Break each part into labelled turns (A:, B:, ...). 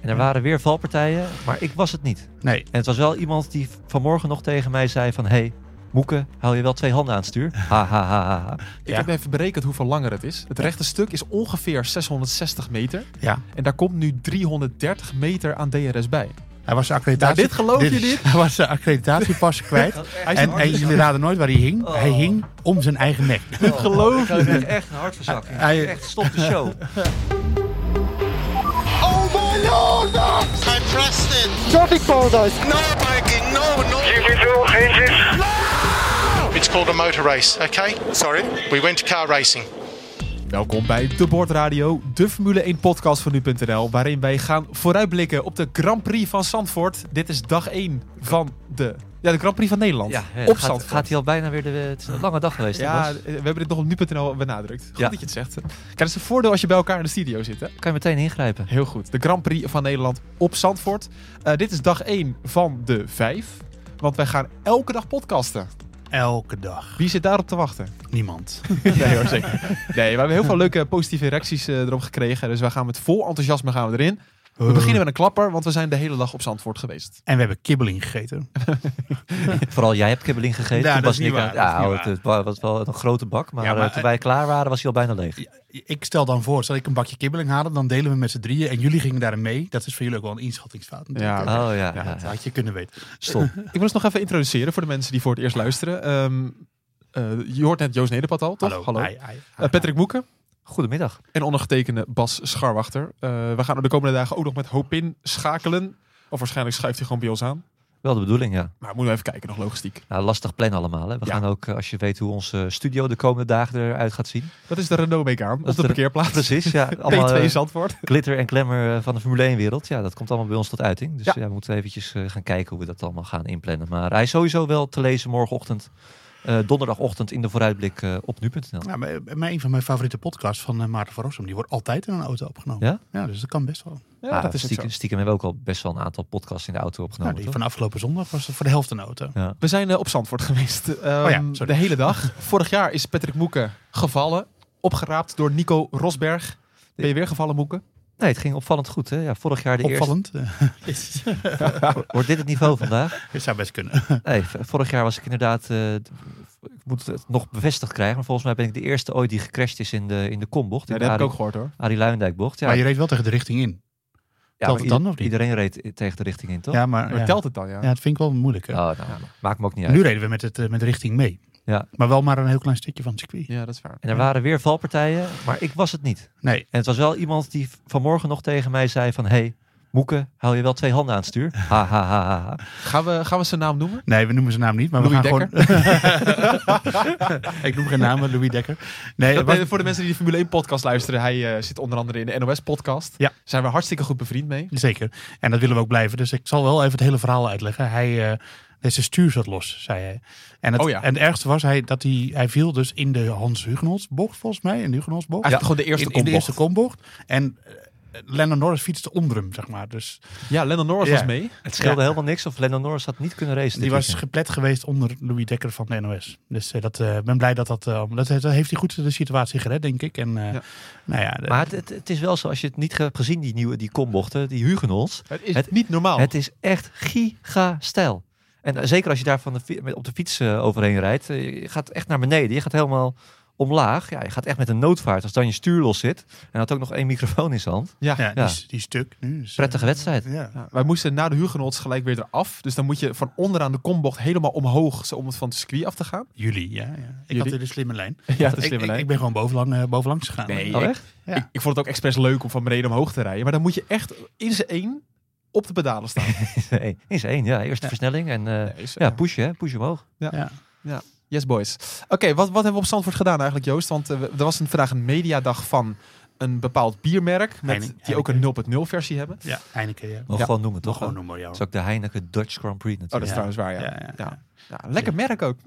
A: En er waren weer valpartijen, maar ik was het niet.
B: Nee.
A: En het was wel iemand die v- vanmorgen nog tegen mij zei van... Hey, Moeke, hou je wel twee handen aan het stuur? Ha, ha, ha, ha, ha.
C: Ik heb even berekend hoeveel langer het is. Het rechte stuk is ongeveer 660 meter.
B: Ja.
C: En daar komt nu 330 meter aan DRS bij.
B: Hij was zijn accreditatie...
C: Nou, dit geloof je niet?
B: Hij was zijn accreditatiepas kwijt.
A: Hij
B: en, en jullie raden nooit waar hij hing.
A: Oh.
B: Hij hing om zijn eigen nek.
C: geloof
A: ik. ben Oh, Echt een hartverzakking.
B: Hij-
A: Echt, stop de show.
D: Oh my lord! I pressed it! Traffic paradise! No biking, no, no!
E: It's called a motor race, okay? Sorry? We went to car racing.
C: Welkom bij De Bord Radio, de Formule 1 podcast van nu.nl, waarin wij gaan vooruitblikken op de Grand Prix van Zandvoort. Dit is dag 1 van de, ja, de Grand Prix van Nederland.
A: Ja, ja,
C: op
A: gaat,
C: Zandvoort.
A: gaat hij al bijna weer de... Het is een lange dag geweest.
C: ja,
A: Ja,
C: eh, we hebben dit nog op nu.nl benadrukt. Goed
A: Ja.
C: dat je het zegt. Kijk, dat is een voordeel als je bij elkaar in de studio zit. Hè?
A: kan je meteen ingrijpen.
C: Heel goed. De Grand Prix van Nederland op Zandvoort. Eh, dit is dag 1 van de 5. Want wij gaan elke dag podcasten.
B: Elke dag.
C: Wie zit daarop te wachten?
B: Niemand.
C: Nee hoor, zeker. Nee, we hebben heel veel leuke positieve reacties eh, erop gekregen. Dus wij gaan met vol enthousiasme gaan we erin. We beginnen met een klapper, want we zijn de hele dag op Zandvoort geweest.
B: En we hebben kibbeling gegeten.
A: Vooral jij hebt kibbeling gegeten.
B: Ja,
A: Toen
B: dat is
A: was
B: niet
A: Nick
B: waar,
A: aan-
B: dat
A: Ja,
B: is niet
A: het, Ah, het wa- was wel een grote bak. Maar,
B: Ja, maar,
A: eh, toen wij klaar waren, was hij al bijna leeg.
B: Ik stel dan voor, zal ik een bakje kibbeling halen, dan delen we met z'n drieën. En jullie gingen daarin mee. Dat is voor jullie ook wel een inschattingsfout. natuurlijk.
C: Ja.
A: Oh ja, ja,
B: Ja, dat
A: ja.
B: had je kunnen weten.
A: stom.
C: Ik wil ons nog even introduceren voor de mensen die voor het eerst luisteren. Ehm, eh, je hoort net Joost Nederpad al, toch?
B: Hallo. Ai, ai, ai.
C: Eh, Patrick Moeken
A: Goedemiddag.
C: en ondergetekende Bas Scharwachter. Eh, we gaan er de komende dagen ook nog met Hopin schakelen. Of waarschijnlijk schuift hij gewoon bij ons aan.
A: Wel de bedoeling, ja.
C: Maar moeten we even kijken, nog logistiek.
A: Nou, lastig plan allemaal. Hè. We
C: Ja.
A: gaan ook, eh, als je weet hoe onze studio de komende dagen eruit gaat zien.
C: Dat is de Renault Megane op
A: is
C: de
A: de-
C: parkeerplaats.
A: Precies, ja. Allemaal
C: P2
A: eh,
C: Zandvoort.
A: glitter en glamour eh, van de Formule 1-wereld. Ja, dat komt allemaal bij ons tot uiting. Dus
C: Ja.
A: ja. we moeten eventjes eh, gaan kijken hoe we dat allemaal gaan inplannen. Maar hij is sowieso wel te lezen morgenochtend, eh, donderdagochtend in de vooruitblik eh, op nu.nl.
B: Ja, maar, eh, maar een van mijn favoriete podcasts van eh, Maarten van Rossum, die wordt altijd in een auto opgenomen.
A: Ja? Nou,
B: dus dat kan best wel.
C: Ja,
A: Maar
C: dat is ook zo.
A: Ah, stiekem, stiekem hebben we ook al best wel een aantal podcasts in de auto
B: Nou,
A: opgenomen.
B: die
A: toch?
B: van afgelopen zondag was het voor de helft een auto.
C: We zijn eh, op Zandvoort geweest.
A: Oh
C: Ehm,
B: ja, sorry.
C: de hele dag. Vorig jaar is Patrick Moeken gevallen. Opgeraapt door Nico Rosberg. Ben je weer gevallen, Moeken?
A: Nee, het ging opvallend goed. Hè? Ja, vorig jaar de eerste.
B: Opvallend. Het
A: Wordt dit het niveau vandaag?
B: zou best kunnen.
A: Nee, v- vorig jaar was ik inderdaad. eh, d- ik moet het nog bevestigd krijgen. Maar volgens mij ben ik de eerste ooit die gecrashed is in de, in de kombocht.
C: Ja,
A: in
C: dat
A: de
C: heb
A: Arie,
C: ik ook gehoord hoor.
A: Arie Luijendijkbocht. Ja,
B: Maar je reed wel tegen de richting in.
A: ja,
B: telt
A: maar
B: het dan
A: ieder-
B: of niet?
A: Iedereen reed i- tegen de richting in, toch?
B: Ja, maar,
C: Maar
B: ja.
C: telt het dan, ja?
B: Ja, dat vind ik wel moeilijk. hè.
A: Oh, nou, nou, maakt me ook niet uit.
B: nu reden we met, het, eh, met de richting mee.
A: Ja.
B: Maar wel maar een heel klein stukje van het circuit.
C: Ja, dat is waar.
A: En er waren weer valpartijen, maar ik was het niet.
B: Nee,
A: En het was wel iemand die v- vanmorgen nog tegen mij zei van... hey, Moeke, hou je wel twee handen aan het stuur? Ha, ha, ha, ha, ha.
C: Gaan we, gaan we zijn naam noemen?
B: nee, we noemen zijn naam niet. Maar we
C: Louis
B: gaan gewoon... ik noem geen naam, maar Louis Dekker. Nee,
C: Dat-
B: wat-
C: eh, voor de mensen die de Formule 1 podcast luisteren. Hij eh, zit onder andere in de NOS podcast.
B: Ja.
C: Zijn we hartstikke goed bevriend mee.
B: Zeker. En dat willen we ook blijven. Dus ik zal wel even het hele verhaal uitleggen. Hij, eh, dus zijn stuur zat los, zei hij. En het,
C: Oh ja.
B: en het ergste was hij, dat hij, hij viel dus in de Hans Hugenholz-bocht, volgens mij. In de Hugenholz-bocht.
C: Eigenlijk gewoon de
B: in,
C: eerste
B: in de
C: kombocht.
B: eerste kombocht. En eh, Lennon Norris fietste onder hem, zeg maar. Dus
C: Ja, Lennon Norris
B: Ja.
C: was mee.
A: Het scheelde
B: Ja.
A: helemaal niks of Lennon Norris had niet kunnen racen.
B: die
A: dit
B: was
A: weekend.
B: geplet geweest onder Louis Dekker van de NOS. Dus eh, dat, eh, ik ben blij dat dat, eh, dat... dat heeft hij goed de situatie gered, denk ik. En eh,
C: Ja.
B: nou ja... de-
A: Maar het, het, het is wel zo, als je het niet hebt gezien, die nieuwe die kombochten, die Hugenholz...
C: Het is
A: Het-
C: niet
B: Oh.
C: normaal.
A: Het is echt giga-stijl. En eh, zeker als je daar van de fi- met- op de fiets eh, overheen rijdt. eh, je gaat echt naar beneden. Je gaat helemaal omlaag. Ja, je gaat echt met een noodvaart. Als dan je stuur los zit. En had ook nog één microfoon in zijn hand.
C: ja.
B: ja, Die,
A: ja.
B: is- die is stuk nu. Dus, eh,
A: Prettige wedstrijd.
B: ja.
C: Ja, wij moesten na de Hugenholz gelijk weer eraf. Dus dan moet je van onderaan de kombocht helemaal omhoog. zo Om het van het circuit af te gaan.
B: Jullie, ja. ja. Ik
C: Jullie?
B: had weer de slimme lijn.
C: Ja,
B: ik, ik- Ik, ben gewoon bovenlang, eh, bovenlangs gegaan.
C: Nee,
A: Oh,
C: ik-
A: echt?
B: Ja.
C: Ik, ik vond het ook expres leuk om van beneden omhoog te rijden. Maar dan moet je echt in zijn één op de pedalen staan.
A: Nee, is één. Ja, eerste versnelling. En eh,
C: Nee, is-
A: ja, pushen, hè? Pushen omhoog.
B: Ja.
C: Yes, boys. Oké, wat, wat hebben we op Zandvoort gedaan eigenlijk, Joost? Want eh, we- er was een, vandaag een mediadag van een bepaald biermerk. Met,
B: Heineken.
C: die ook een 0.0 versie hebben.
B: ja, Heineken, ja.
A: Nog
C: Ja.
A: gewoon noemen, toch?
B: Gewoon noemen, ja.
A: Dat is ook de Heineken Dutch Grand Prix
C: Oh, dat is
A: natuurlijk.
B: Ja.
C: trouwens waar, ja.
B: Ja, ja,
C: Ja. Ja, lekker merk ook.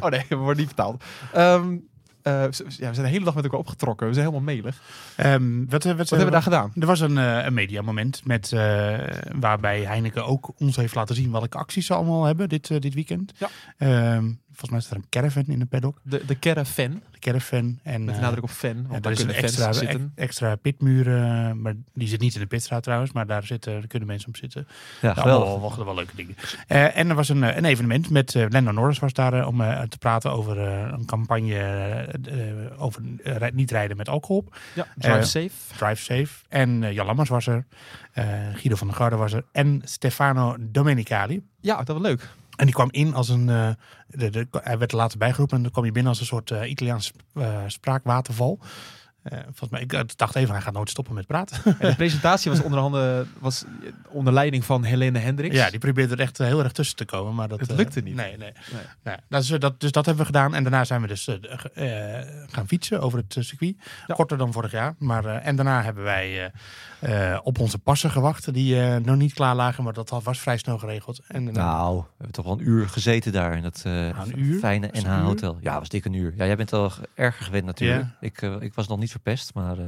C: oh nee, we worden niet betaald. Ehm, eh, z- ja, we zijn de hele dag met elkaar opgetrokken. We zijn helemaal melig. Wat
B: Ehm, wat, eh, wat, eh,
C: hebben we daar gedaan?
B: Er was een, eh een mediamoment met, eh, waarbij Heineken ook ons heeft laten zien welke acties ze allemaal hebben dit, eh, dit weekend.
C: Ja.
B: Ehm, Volgens mij is er een caravan in de paddock.
C: De, de caravan,
B: De caravan. En,
C: met de
B: eh,
C: nadruk op fan, want
B: ja, daar
C: daar
B: is een
C: kunnen fans
B: extra,
C: zitten.
B: e- extra pitmuur. eh, maar die zit niet in de pitstraat trouwens. Maar daar, zitten, daar kunnen mensen op zitten.
A: Ja,
B: Ja,
A: geweldig.
B: allemaal wel, wel, wel leuke dingen. Eh, en er was een, eh, een evenement met eh Lando Norris was daar eh, om eh, te praten over eh, een campagne eh, eh, over eh, rij- niet rijden met alcohol.
C: Ja, drive
B: Eh,
C: safe.
B: Drive Safe. En eh, Jan Lammers was er. eh, Guido van der Garde was er. En Stefano Domenicali.
C: Ja, dat was leuk.
B: En die kwam in als een. eh, de, de, hij werd er later bijgeroepen. En dan kwam hij binnen als een soort eh, Italiaans eh, spraakwaterval. Eh, volgens mij, ik eh, dacht even, hij gaat nooit stoppen met praten.
C: En de presentatie was onder, handen, was onder leiding van Helene Hendricks.
B: ja, die probeerde er echt eh, heel erg tussen te komen. Maar dat,
C: Het
B: eh,
C: lukte niet.
B: Nee, nee.
C: Nee.
B: Nou, dat is, eh, dat, dus dat hebben we gedaan. En daarna zijn we dus eh, ge- eh, gaan fietsen over het eh, circuit.
C: Ja.
B: Korter dan vorig jaar. Maar, eh, en daarna hebben wij eh, eh, op onze passen gewacht. Die eh, nog niet klaar lagen, maar dat had- was vrij snel geregeld. En, eh, daarna-
A: Nou, we hebben toch wel een uur gezeten daar in dat eh,
B: een uur?
A: fijne
B: het een
A: NH
B: uur?
A: Hotel. Ja, was dik een uur. Ja, jij bent al erger gewend natuurlijk.
B: Ja.
A: Ik, eh, ik was nog niet verpest, maar eh,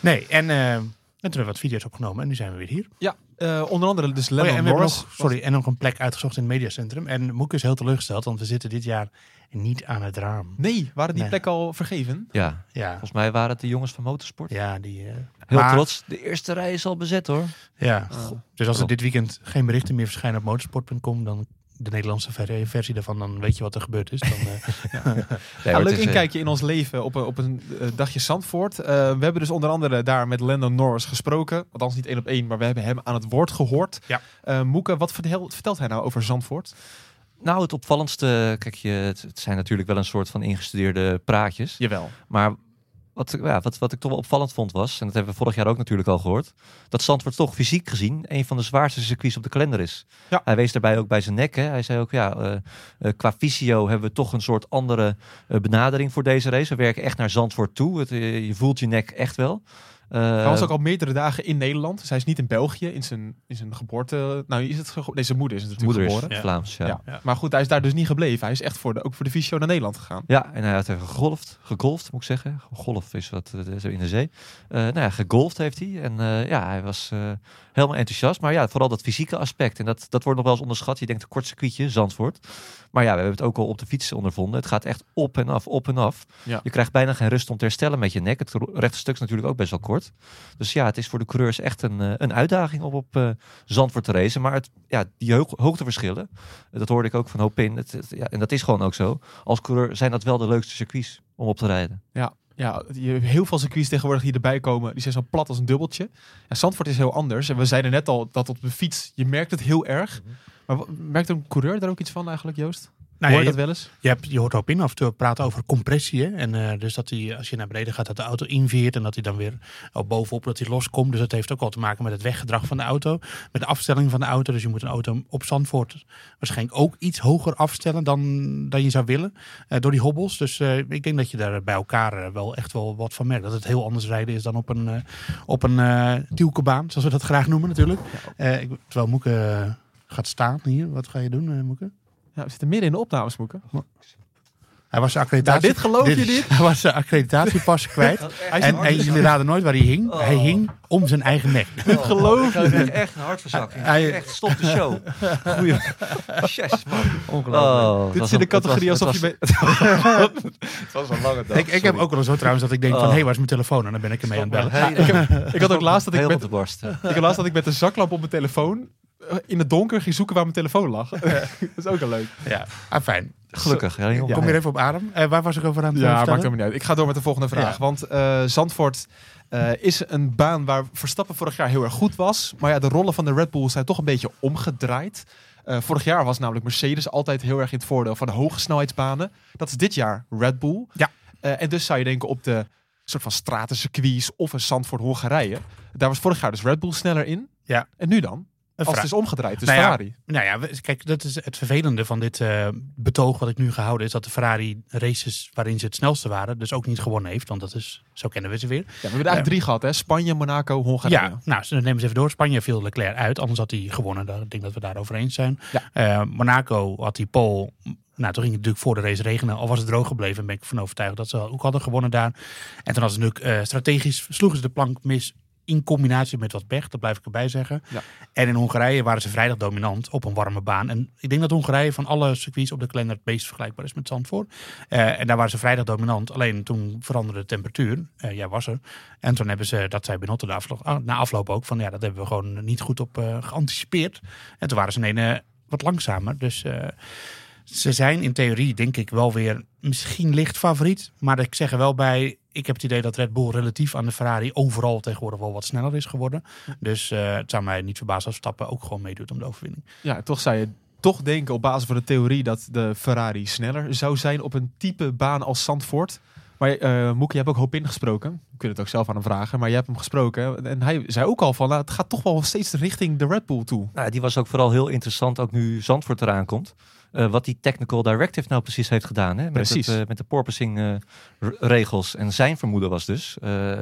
B: Nee, en, eh, en toen hebben we wat video's opgenomen. En nu zijn we weer hier.
C: Ja, eh, onder andere dus
B: Oh
C: Lennon
B: ja, en we hebben
C: Norris.
B: nog, sorry, en nog een plek uitgezocht in het mediacentrum. En Moek is heel teleurgesteld, want we zitten dit jaar niet aan het raam.
C: Nee, waren die
B: Nee.
C: plekken al vergeven?
A: ja,
B: Ja,
A: volgens mij waren het de jongens van Motorsport.
B: ja die... eh,
A: Heel
B: maar-
A: trots. De eerste rij is al bezet hoor.
B: Ja. Dus als er
A: Klopt.
B: dit weekend geen berichten meer verschijnen op motorsport.com, dan de Nederlandse ver- versie daarvan, dan weet je wat er gebeurd is. Dan, eh,
A: Nee,
C: Ja,
A: hoor, het
C: leuk
A: is, eh,
C: inkijkje in ons leven op een, op een eh, dagje Zandvoort. Eh, we hebben dus onder andere daar met Lennon Norris gesproken. Althans niet één op één, maar we hebben hem aan het woord gehoord.
B: Ja.
C: Eh, Moeke, wat vertel- vertelt hij nou over Zandvoort?
A: Nou, het opvallendste, kijk, je, het, het zijn natuurlijk wel een soort van ingestudeerde praatjes.
C: Jawel.
A: Maar wat, ik- ja, wat, wat ik toch wel opvallend vond was, en dat hebben we vorig jaar ook natuurlijk al gehoord, dat Zandvoort toch fysiek gezien een van de zwaarste circuits op de kalender is.
C: Ja.
A: Hij wees daarbij ook bij zijn nek. Hè. Hij zei ook, ja, eh, eh, qua fysio hebben we toch een soort andere eh, benadering voor deze race. We werken echt naar Zandvoort toe. Het, eh, je voelt je nek echt wel. Eh,
C: hij was ook al meerdere dagen in Nederland. Dus hij is niet in België, in zijn, in zijn geboorte... Nou, is het gebo- nee, zijn moeder is het natuurlijk
A: moeder is
C: geboren.
B: Ja.
A: Vlaams, ja.
C: Ja.
A: ja.
C: Maar goed, hij is daar dus niet gebleven. Hij is echt voor de, ook voor de fysio naar Nederland gegaan.
A: en hij had even gegolfd, gegolfd moet ik zeggen. Golf is wat eh, zo in de zee. Eh nou ja, gegolfd heeft hij. En eh, ja, hij was eh, helemaal enthousiast. Maar ja, vooral dat fysieke aspect. En dat, dat wordt nog wel eens onderschat. Je denkt een kort circuitje, Zandvoort. Maar ja, we hebben het ook al op de fiets ondervonden. Het gaat echt op en af, op en af.
C: Ja.
A: Je krijgt bijna geen rust om te herstellen met je nek. Het ro- rechte stuk is natuurlijk ook best wel kort. Dus ja, het is voor de coureurs echt een, eh, een uitdaging om op eh, Zandvoort te racen. Maar het, ja, die hoog- hoogteverschillen, eh, dat hoorde ik ook van Hopin. Het, het- ja, en dat is gewoon ook zo. Als coureur zijn dat wel de leukste circuits om op te rijden.
C: Ja, ja, je hebt heel veel circuits tegenwoordig die erbij komen. Die zijn zo plat als een dubbeltje. En Zandvoort is heel anders. En we zeiden net al dat op de fiets, je merkt het heel erg.
A: Mhm.
C: Maar wat- merkt een coureur daar ook iets van eigenlijk, Joost?
B: nou ja,
C: Hoor je dat
B: je,
C: wel eens?
B: je, hebt, je hoort erop in af en toe praten over compressie. Hè? En eh, dus dat hij, als je naar beneden gaat, dat de auto inveert en dat hij dan weer op bovenop dat hij loskomt. Dus dat heeft ook wel te maken met het weggedrag van de auto, met de afstelling van de auto. Dus je moet een auto op Zandvoort waarschijnlijk ook iets hoger afstellen dan, dan je zou willen eh, door die hobbels. Dus eh, ik denk dat je daar bij elkaar eh, wel echt wel wat van merkt. Dat het heel anders rijden is dan op een, eh op een eh tielkebaan, zoals we dat graag noemen natuurlijk. Eh, ik, terwijl Moeke eh, gaat staan hier. Wat ga je doen, eh, Moeke?
C: Ja, we zitten midden in de opnames, Moeke.
B: Hij was zijn
C: Nou,
B: accreditatie...
C: dit geloof je niet?
B: Hij was zijn accreditatiepas kwijt.
A: Hij
B: En, en jullie raden nooit waar hij hing.
A: Oh.
B: Hij hing om zijn eigen nek.
A: geloof je. Echt een hartverzakking.
B: Hij-
A: Echt, stop de show. Goeie. Oh, Yes, man. Ongelooflijk.
C: Oh. Dit is in de categorie alsof je... bij-
A: Het was een lange dag.
B: ik, ik heb ook wel zo trouwens dat ik denk van...
A: Oh.
B: hé, waar is mijn telefoon? En dan ben ik ermee aan het bellen.
C: Ik had ook laatst dat ik
A: Heel
C: met,
A: op de borsten.
C: ik had laatst dat ik met de zaklamp op mijn telefoon... eh, in het donker ging zoeken waar mijn telefoon lag. dat is ook wel leuk.
B: Ja, ah, fijn.
A: Gelukkig. Ja, jongen.
B: Kom weer even op adem. Eh, waar was ik over aan het eh,
C: Ja, maakt
B: vertellen?
C: helemaal niet uit. Ik ga door met de volgende vraag.
B: Ja.
C: Want eh, Zandvoort eh, is een baan waar Verstappen vorig jaar heel erg goed was. Maar ja, de rollen van de Red Bull zijn toch een beetje omgedraaid. Eh, vorig jaar was namelijk Mercedes altijd heel erg in het voordeel van de hoge snelheidsbanen. Dat is dit jaar Red Bull.
B: Ja.
C: Eh, en dus zou je denken op de soort van stratencircuits of een Zandvoort Hongarije. Daar was vorig jaar dus Red Bull sneller in.
B: Ja.
C: En nu dan?
B: Een
C: Als
B: vraag.
C: het is omgedraaid, dus
B: Nou ja,
C: Ferrari.
B: Nou ja, we- kijk, dat is het vervelende van dit eh, betoog wat ik nu gehouden is dat de Ferrari races waarin ze het snelste waren, dus ook niet gewonnen heeft, want dat is zo kennen we ze weer.
C: Ja, we hebben er eigenlijk drie gehad, hè? Spanje, Monaco, Hongarije.
B: Eh. Ja, nou, ze- neem eens even door. Spanje viel Leclerc uit, anders had hij gewonnen. Daar- Ik denk dat we daarover eens zijn.
C: Ja.
B: Eh, Monaco had hij Paul. Nou, toen ging het natuurlijk voor de race regenen. Al was het droog gebleven, ben ik van overtuigd dat ze ook hadden gewonnen daar. En toen was het natuurlijk eh, strategisch, sloegen ze de plank mis in combinatie met wat pech, dat blijf ik erbij zeggen.
C: Ja.
B: En in Hongarije waren ze vrijdag dominant op een warme baan. En ik denk dat Hongarije van alle circuits op de kalender het meest vergelijkbaar is met Zandvoort. Eh, en daar waren ze vrijdag dominant. Alleen toen veranderde de temperatuur. Eh, jij was er. En toen hebben ze, dat zei Benotto de afloop- ah, na afloop ook, van ja, dat hebben we gewoon niet goed op eh, geanticipeerd. En toen waren ze ineens eh, wat langzamer. Dus... eh, ze zijn in theorie, denk ik, wel weer misschien licht favoriet. Maar ik zeg er wel bij, ik heb het idee dat Red Bull relatief aan de Ferrari overal tegenwoordig wel wat sneller is geworden. Dus eh, het zou mij niet verbazen als Stappen ook gewoon meedoet om de overwinning.
C: Ja, en toch zou je toch denken op basis van de theorie dat de Ferrari sneller zou zijn op een type baan als Zandvoort. Maar eh Moeke, je hebt ook hoop ingesproken. Je kunt het ook zelf aan hem vragen, maar je hebt hem gesproken. hè? En hij zei ook al van, nou, het gaat toch wel steeds richting de Red Bull toe.
A: Nou, die was ook vooral heel interessant, ook nu Zandvoort eraan komt. eh, wat die Technical Directive nou precies heeft gedaan. Hè? Met,
C: Precies.
A: Het, eh, met de porpoising eh, r- regels. En zijn vermoeden was dus eh,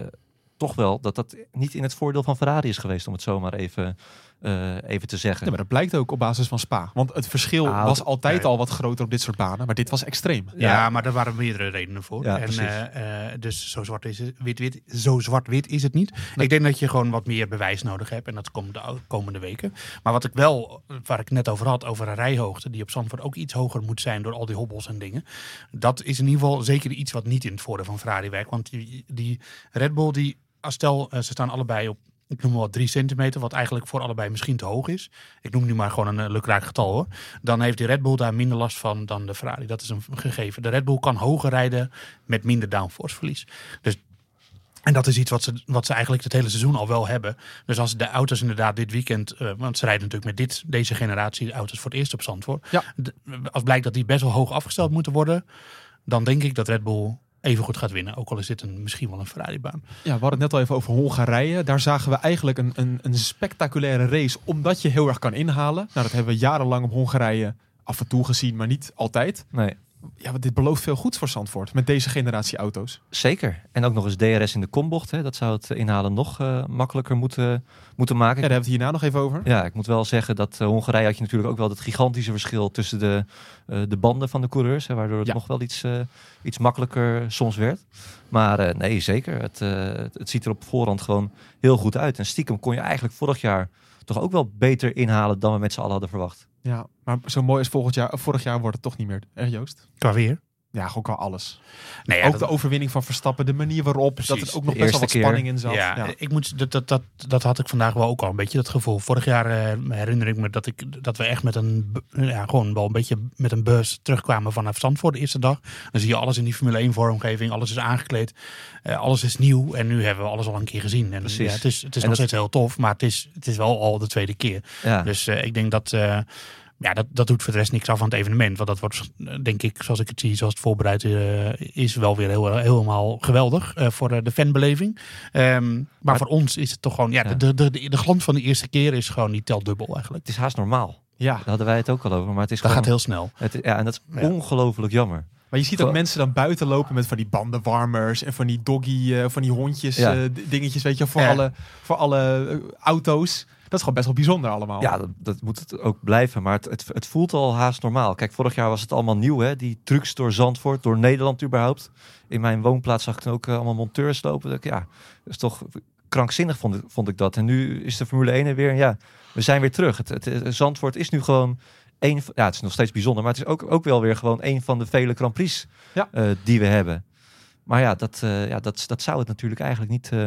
A: toch wel dat dat niet in het voordeel van Ferrari is geweest. Om het zomaar even, eh, even te zeggen.
C: Ja, maar dat blijkt ook op basis van Spa. Want het verschil
A: Ah,
C: was
A: dat-
C: altijd
B: nee.
C: al wat groter op dit soort banen, maar dit was extreem.
B: Ja,
A: Ja.
B: maar daar waren meerdere redenen voor.
A: Ja,
B: en,
A: precies.
B: eh, eh, dus zo zwart is het, wit, wit, zo zwart-wit is het niet. Ik denk dat je gewoon wat meer bewijs nodig hebt. En dat komt de ou- komende weken. Maar wat ik wel, waar ik net over had, over een rijhoogte. Die op Zandvoort ook iets hoger moet zijn door al die hobbels en dingen. Dat is in ieder geval zeker iets wat niet in het voordeel van Ferrari werkt. Want die, die Red Bull, die, als stel, eh, ze staan allebei op ik noem maar wat drie centimeter, wat eigenlijk voor allebei misschien te hoog is. Ik noem nu maar gewoon een eh, lukraak getal hoor. Dan heeft de Red Bull daar minder last van dan de Ferrari. Dat is een gegeven. De Red Bull kan hoger rijden met minder downforce verlies. Dus en dat is iets wat ze, wat ze eigenlijk het hele seizoen al wel hebben. Dus als de auto's inderdaad dit weekend. eh, want ze rijden natuurlijk met dit, deze generatie auto's voor het eerst op Zandvoort.
C: Ja.
B: D- Als blijkt dat die best wel hoog afgesteld moeten worden. dan denk ik dat Red Bull even goed gaat winnen. Ook al is dit een, misschien wel een Ferrari-baan.
C: Ja, we hadden het net al even over Hongarije. Daar zagen we eigenlijk een, een, een spectaculaire race, omdat je heel erg kan inhalen. Nou, dat hebben we jarenlang op Hongarije af en toe gezien, maar niet altijd.
A: Nee,
C: Ja, want dit belooft veel goeds voor Zandvoort met deze generatie auto's.
A: zeker. En ook nog eens DRS in de kombocht. Hè? Dat zou het inhalen nog eh, makkelijker moeten, moeten maken.
C: Ja, daar hebben we het hierna nog even over.
A: Ja, ik moet wel zeggen dat eh, Hongarije had je natuurlijk ook wel dat gigantische verschil tussen de, eh, de banden van de coureurs. Hè, waardoor het
C: Ja.
A: nog wel iets, eh, iets makkelijker soms werd. Maar eh, nee, zeker. Het, eh, het, het ziet er op voorhand gewoon heel goed uit. En stiekem kon je eigenlijk vorig jaar toch ook wel beter inhalen dan we met z'n allen hadden verwacht.
C: Ja, maar zo mooi als volgend jaar, vorig jaar wordt het toch niet meer. Echt Joost?
B: Qua weer.
C: Ja, gewoon wel alles.
B: Nee, ja,
C: ook
B: dat-
C: de overwinning van Verstappen, de manier waarop. Dat
B: Precies,
C: het ook nog
A: de
C: best wel wat
A: eerste
C: spanning in zat.
B: Ja,
C: Ja.
B: ik moet, dat, dat, dat, dat had ik vandaag wel ook al een beetje dat gevoel. Vorig jaar eh, herinner ik me dat, ik, dat we echt met een, bu- ja, gewoon wel een beetje met een bus terugkwamen vanaf Zandvoort de eerste dag. Dan zie je alles in die Formule 1 vormgeving, alles is aangekleed, eh, alles is nieuw en nu hebben we alles al een keer gezien. En,
A: Precies.
B: ja, het is, het is
A: En
B: nog
A: dat-
B: steeds heel tof, maar het is, het is wel al de tweede keer.
A: Ja,
B: Dus eh, ik denk dat, eh, ja, dat dat doet voor de rest niks af aan het evenement. Want dat wordt, eh, denk ik, zoals ik het zie, zoals het voorbereid eh, is, wel weer heel, helemaal geweldig eh, voor eh, de fanbeleving. Ehm, maar,
A: Maar-
B: voor ons is het toch gewoon, ja,
A: Ja.
B: De, de, de, de glans van de eerste keer is gewoon, die telt dubbel eigenlijk.
A: het is haast normaal.
C: Ja.
A: Daar hadden wij het ook al over. Maar het is
B: Dat gaat
A: gewoon,
B: heel snel.
A: het, ja, en dat is
B: Ja.
A: ongelooflijk jammer.
C: Maar je ziet ook
A: Gewoon-
C: mensen dan buiten lopen met van die bandenwarmers en van die doggy, eh, van die hondjes,
A: Ja.
C: eh, d- dingetjes, weet je, voor
B: Ja.
C: alle, voor alle eh, auto's. Dat is gewoon best wel bijzonder allemaal.
A: Ja, dat, dat moet het ook blijven. Maar het, het, het voelt al haast normaal. Kijk, vorig jaar was het allemaal nieuw, hè? Die trucs door Zandvoort, door Nederland überhaupt. In mijn woonplaats zag ik dan ook eh, allemaal monteurs lopen. Dat ik, ja, dat is toch krankzinnig, vond ik, vond ik dat. En nu is de Formule 1 er weer. en Ja, we zijn weer terug. Het, het, het- Zandvoort is nu gewoon één. van- Ja, het is nog steeds bijzonder, maar het is ook, ook wel weer gewoon een van de vele Grand Prix
C: Ja.
A: eh, die we hebben. Maar ja, dat, eh, ja dat, dat zou het natuurlijk eigenlijk niet eh,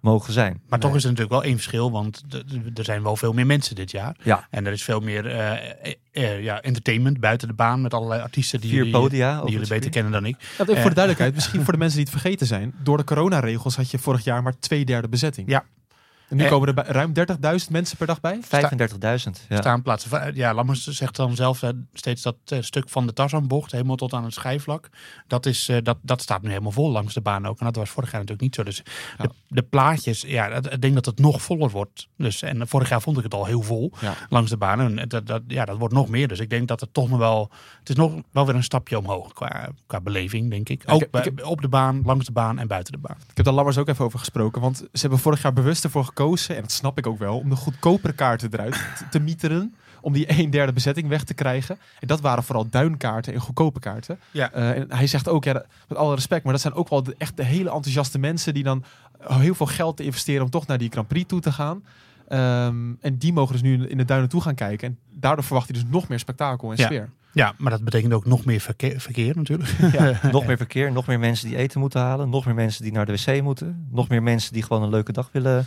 A: mogen zijn.
B: Maar toch is er natuurlijk wel één verschil, want d- d- er zijn wel veel meer mensen dit jaar.
A: Ja.
B: En er is veel meer eh, eh, eh, ja, entertainment buiten de baan met allerlei artiesten die
A: Vier
B: jullie,
A: podia. over
B: die jullie
A: het
B: beter
A: circuit.
B: kennen dan ik.
C: Ja, even voor de duidelijkheid, misschien voor de mensen die het vergeten zijn. Door de coronaregels had je vorig jaar maar twee derde bezetting.
B: Ja.
C: En nu
B: Eh.
C: komen er bij- ruim 30.000 mensen per dag bij.
A: 35.000. Ja.
B: staanplaatsen. Va- eh, Ja, Lammers zegt dan zelf eh, steeds dat eh, stuk van de Tarzanbocht helemaal tot aan het schijfvlak. Dat, is, eh, dat, dat staat nu helemaal vol langs de baan ook. En dat was vorig jaar natuurlijk niet zo. Dus de, de plaatjes, ja, dat- ik denk dat het nog voller wordt. Dus, en vorig jaar vond ik het al heel vol
C: Ja.
B: langs de baan. En dat, dat, ja, dat wordt nog meer. Dus ik denk dat het toch nog wel... Het is nog wel weer een stapje omhoog qua, qua beleving, denk ik. Ook
C: ik-
B: bij-
C: ik heb-
B: op de baan, langs de baan en buiten de baan.
C: Ik heb daar Lammers ook even over gesproken. Want ze hebben vorig jaar bewust ervoor gekozen, en dat snap ik ook wel, om de goedkopere kaarten eruit te- te mieteren. om die een derde bezetting weg te krijgen. En dat waren vooral duinkaarten en goedkope kaarten.
B: Ja.
C: Eh, en hij zegt ook, ja, dat- met alle respect, maar dat zijn ook wel de, echt de hele enthousiaste mensen die dan eh, heel veel geld te investeren om toch naar die Grand Prix toe te gaan. Ehm, en die mogen dus nu in de duinen toe gaan kijken. En daardoor verwacht hij dus nog meer spektakel en
B: Ja.
C: sfeer.
B: ja, maar dat betekent ook nog meer verkeer, verkeer natuurlijk.
A: Nog meer verkeer, nog meer mensen die eten moeten halen, nog meer mensen die naar de wc moeten, nog meer mensen die gewoon een leuke dag willen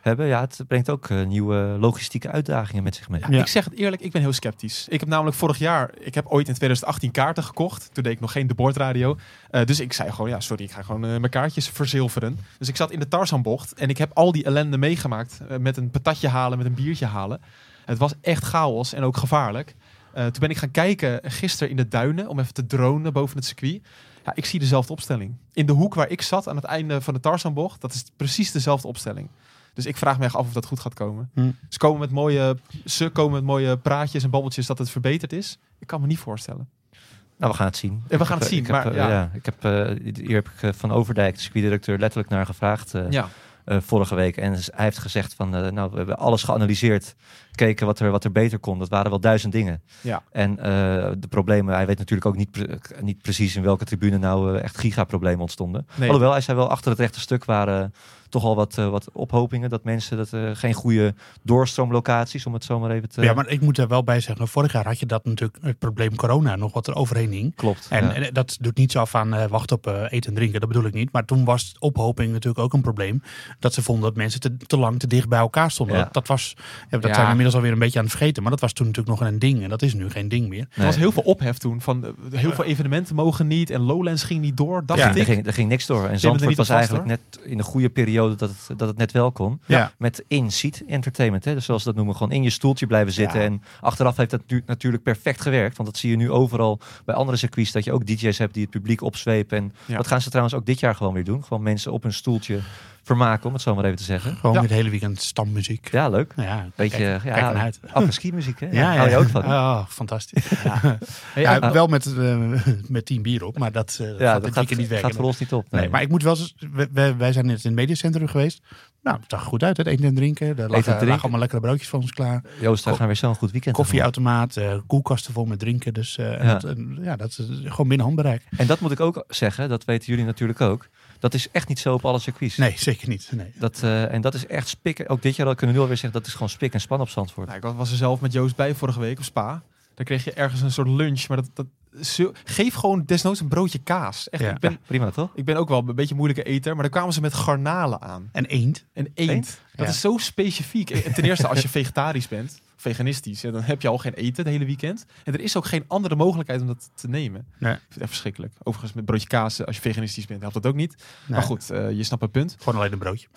A: hebben. Ja, het brengt ook eh, nieuwe logistieke uitdagingen met zich mee.
C: Ja,
B: Ja.
C: Ik zeg het eerlijk, ik ben heel sceptisch. Ik heb namelijk vorig jaar, ik heb ooit in 2018 kaarten gekocht. Toen deed ik nog geen de boordradio. Eh, dus ik zei gewoon, ja, sorry, ik ga gewoon eh, mijn kaartjes verzilveren. Dus ik zat in de Tarzanbocht en ik heb al die ellende meegemaakt. eh, met een patatje halen, met een biertje halen. Het was echt chaos en ook gevaarlijk. Eh, toen ben ik gaan kijken gisteren in de duinen om even te dronen boven het circuit. Ja, ik zie dezelfde opstelling. In de hoek waar ik zat aan het einde van de Tarzanbocht, dat is precies dezelfde opstelling. Dus ik vraag me echt af of dat goed gaat komen.
B: Hm.
C: Ze, komen met mooie, ze komen met mooie praatjes en babbeltjes dat het verbeterd is. Ik kan me niet voorstellen.
A: Nou, we gaan het zien.
C: Ja, we gaan het zien,
A: Ik heb,
C: maar
A: eh,
C: ja.
A: ik heb, eh, hier heb ik eh, Van Overdijk, de circuitdirecteur, letterlijk naar gevraagd eh,
C: Ja.
A: eh, vorige week. En hij heeft gezegd van, eh, nou, we hebben alles geanalyseerd, gekeken wat er, wat er beter kon. Dat waren wel duizend dingen.
C: Ja.
A: En eh, de problemen, hij weet natuurlijk ook niet, pre- niet precies in welke tribune nou eh, echt gigaproblemen ontstonden.
C: Nee.
A: Alhoewel, hij zei wel, achter het rechte stuk waren toch al wat, eh, wat ophopingen. Dat mensen, dat eh, geen goede doorstroomlocaties, om het zo maar even te...
B: Ja, maar ik moet daar wel bij zeggen, vorig jaar had je dat natuurlijk het probleem corona nog wat er overheen hing.
A: Klopt.
B: En,
A: ja.
B: en dat doet niets af aan eh, wacht op eh, eten en drinken, dat bedoel ik niet. Maar toen was ophoping natuurlijk ook een probleem. Dat ze vonden dat mensen te, te lang te dicht bij elkaar stonden.
A: Ja.
B: Dat, dat was, ja, dat
C: Ja.
B: zijn we inmiddels alweer een beetje aan het vergeten. Maar dat was toen natuurlijk nog een ding en dat is nu geen ding meer.
C: Er was heel veel ophef toen. Van, eh, heel veel evenementen mogen niet en Lowlands ging niet door. Dacht
B: Ja.
A: Er
C: ik.
A: ging, er ging niks door. En
C: er
A: Zandvoort
C: niet
A: was
C: op vast,
A: eigenlijk net in de goede periode dat het, dat het net wel kon.
B: Ja.
A: Met in-seat entertainment, hè? Dus zoals ze dat noemen. Gewoon in je stoeltje blijven zitten.
B: Ja.
A: En achteraf heeft dat nu, natuurlijk perfect gewerkt. Want dat zie je nu overal bij andere circuits. Dat je ook DJ's hebt die het publiek opzweepen. En
C: Ja.
A: dat gaan ze trouwens ook dit jaar gewoon weer doen. Gewoon mensen op hun stoeltje vermaken, om het zo maar even te zeggen.
B: Gewoon
C: Ja.
B: het hele weekend stammuziek.
A: Ja, leuk.
B: Nou Ja,
A: Beetje,
B: kijk,
A: ja,
B: kijk ernaar uit.
A: afreski muziek, hè?
B: Ja, ja.
A: Hou je ook van.
B: Oh, fantastisch. Ja.
A: Ja,
B: Ja, wel met, eh, met tien bier op, maar dat, eh,
A: Ja,
B: gaat
A: dat
B: dit
A: gaat,
B: weekend niet werken.
A: gaat voor ons niet op.
B: Nee,
A: nee.
B: maar ik moet wel eens- we- we- wij zijn net in het mediacentrum geweest. Nou, het zag er goed uit, het eten en drinken. Er lagen,
A: drinken.
B: lagen allemaal lekkere broodjes voor ons klaar.
A: Joost, daar gaan we weer zo'n goed weekend tegemoet.
B: Koffieautomaat, eh, koelkasten vol met drinken. Dus eh, en
A: Ja.
B: dat, en ja, dat is gewoon binnen handbereik.
A: En dat moet ik ook zeggen, dat weten jullie natuurlijk ook. Dat is echt niet zo op alle circuits.
B: Nee, zeker niet. Nee.
A: Dat, eh, en dat is echt spik. Ook dit jaar kunnen we nu alweer zeggen, dat is gewoon spik en span op Zandvoort.
C: Nou, ik was er zelf met Joost bij vorige week op Spa. Daar kreeg je ergens een soort lunch. Maar dat, dat, zo- geef gewoon desnoods een broodje kaas. Echt,
B: Ja.
C: ik, ben,
A: Ja, prima toch?
C: ik ben ook wel een beetje een moeilijke eter. Maar daar kwamen ze met garnalen aan.
B: En eend.
C: En eend.
A: Eend?
C: Dat
B: Ja.
C: is zo specifiek. En ten eerste, als je vegetarisch bent, veganistisch, ja, dan heb je al geen eten het hele weekend. En er is ook geen andere mogelijkheid om dat te nemen.
B: Nee.
C: Ik vind het echt verschrikkelijk. Overigens, met broodje kaas, eh, als je veganistisch bent, helpt dat ook niet. Maar
B: Nee.
C: goed, eh, je snapt het punt.
B: Gewoon alleen een broodje.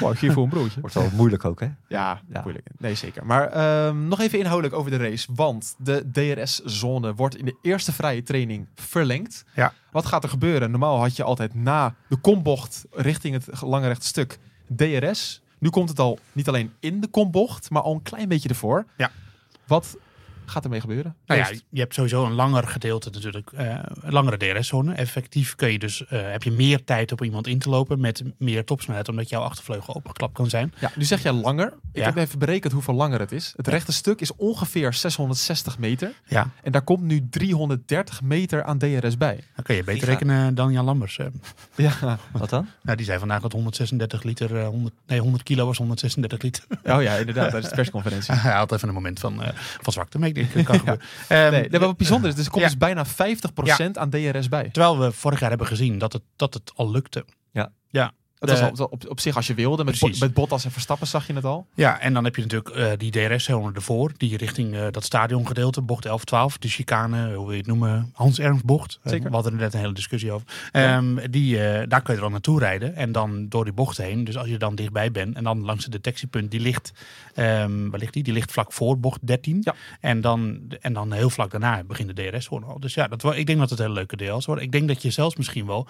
C: Wow, ik geef voor een broodje.
A: Wordt wel moeilijk ook, hè?
C: Ja,
A: Ja.
C: moeilijk. Nee, zeker. Maar ehm, nog even inhoudelijk over de race. Want de DRS-zone wordt in de eerste vrije training verlengd.
B: Ja.
C: Wat gaat er gebeuren? Normaal had je altijd na de kombocht richting het lange rechte stuk DRS. Nu komt het al niet alleen in de kombocht, maar al een klein beetje ervoor.
B: Ja.
C: Wat gaat ermee gebeuren?
B: Nou ja,
C: Eerst,
B: je hebt sowieso een langer gedeelte natuurlijk, eh, een langere DRS-zone. Effectief kun je dus, eh, heb je meer tijd op iemand in te lopen met meer topsnelheid, omdat jouw achtervleugel opgeklapt kan zijn.
C: ja, nu zeg jij langer. Ik
B: Ja.
C: heb even berekend hoeveel langer het is. Het rechte stuk is ongeveer 660 meter.
B: Ja,
C: En daar komt nu 330 meter aan DRS bij.
B: dan kun je beter
A: Giga.
B: rekenen dan Jan Lammers. eh.
C: Ja.
A: Wat dan?
B: Nou, die zei vandaag dat 136 liter, eh, 100, nee 100 kilo was 136 liter.
C: Oh ja, inderdaad, tijdens de persconferentie.
B: Hij had even een moment van, eh, van zwakte, maar ik denk dat kan gebeuren. Ehm,
C: Nee, nee, maar wat bijzonder is, dus er komt
B: Ja.
C: dus bijna 50% aan DRS bij.
B: Terwijl we vorig jaar hebben gezien dat het, dat het al lukte.
C: Dat was
B: Eh,
C: al, dat op, op zich als je wilde. Met,
B: precies.
C: Bo- met Bottas en Verstappen zag je het al.
B: Ja, en dan heb je natuurlijk eh, die DRS-zone ervoor. Die richting eh, dat stadiongedeelte, bocht 11, 12. De chicane, hoe wil je het noemen? Hans Ermsbocht. Eh,
C: Zeker.
B: we hadden er net een hele discussie over. Ehm, die, eh, daar kun je dan naartoe rijden. En dan door die bocht heen. Dus als je dan dichtbij bent. En dan langs het detectiepunt. Die ligt, ehm, waar ligt die? Die ligt vlak voor bocht 13.
C: Ja.
B: En, dan, en dan heel vlak daarna begint de DRS-zone al. Dus ja, dat, wa- ik denk dat het een hele leuke DL's wordt. Ik denk dat je zelfs misschien wel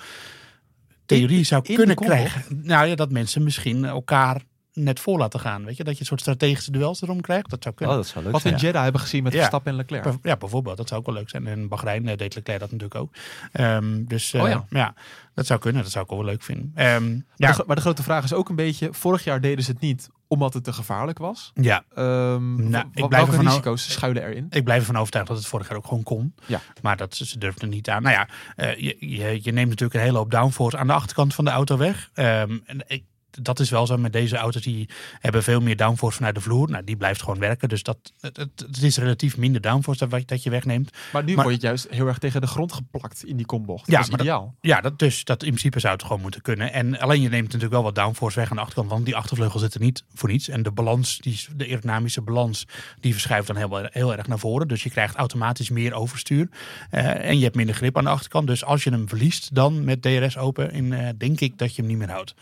B: theorie zou
C: in de
B: kunnen
C: kombocht?
B: krijgen. Nou ja, dat mensen misschien elkaar net voor laten gaan. Weet je, dat je een soort strategische duels erom krijgt. Dat zou
A: Oh,
B: kunnen.
A: dat zou leuk
C: Wat we
A: zijn.
C: in Jeddah hebben gezien met
B: Ja.
C: Verstappen en Leclerc.
B: Bijv- Ja, bijvoorbeeld. Dat zou ook wel leuk zijn. En Bahrein eh, deed Leclerc dat natuurlijk ook. Ehm, dus eh,
C: Oh ja.
B: ja. dat zou kunnen. Dat zou ik ook wel leuk vinden. Ehm,
C: De
B: ja,
C: gro- maar de grote vraag is ook een beetje, vorig jaar deden ze het niet omdat het te gevaarlijk was.
B: Ja,
C: Ehm,
B: Nou,
C: wa-
B: ik blijf
C: welke
B: ervan o-
C: risico's schuilen erin?
B: Ik blijf ervan overtuigd dat het vorig jaar ook gewoon kon.
C: Ja.
B: Maar dat ze ze durfden niet aan. Nou ja, eh, je, je, je neemt natuurlijk een hele hoop downforce aan de achterkant van de auto weg. Ehm, en ik, dat is wel zo met deze auto's. Die hebben veel meer downforce vanuit de vloer. Nou, die blijft gewoon werken. Dus dat, het, het, het is relatief minder downforce dat, wat- dat je wegneemt.
C: Maar nu
B: Maar-
C: word je juist heel erg tegen de grond geplakt in die kombocht.
B: Ja,
C: dat is
B: maar dat-
C: ideaal.
B: Ja, dat, dus dat in principe zou het gewoon moeten kunnen. En alleen je neemt natuurlijk wel wat downforce weg aan de achterkant. Want die achtervleugel zit er niet voor niets. En de balans, die, is- de aerodynamische balans, die verschuift dan heel, heel erg naar voren. Dus je krijgt automatisch meer overstuur. Eh, en je hebt minder grip aan de achterkant. Dus als je hem verliest dan met DRS open, in, eh, denk ik dat je hem niet meer houdt.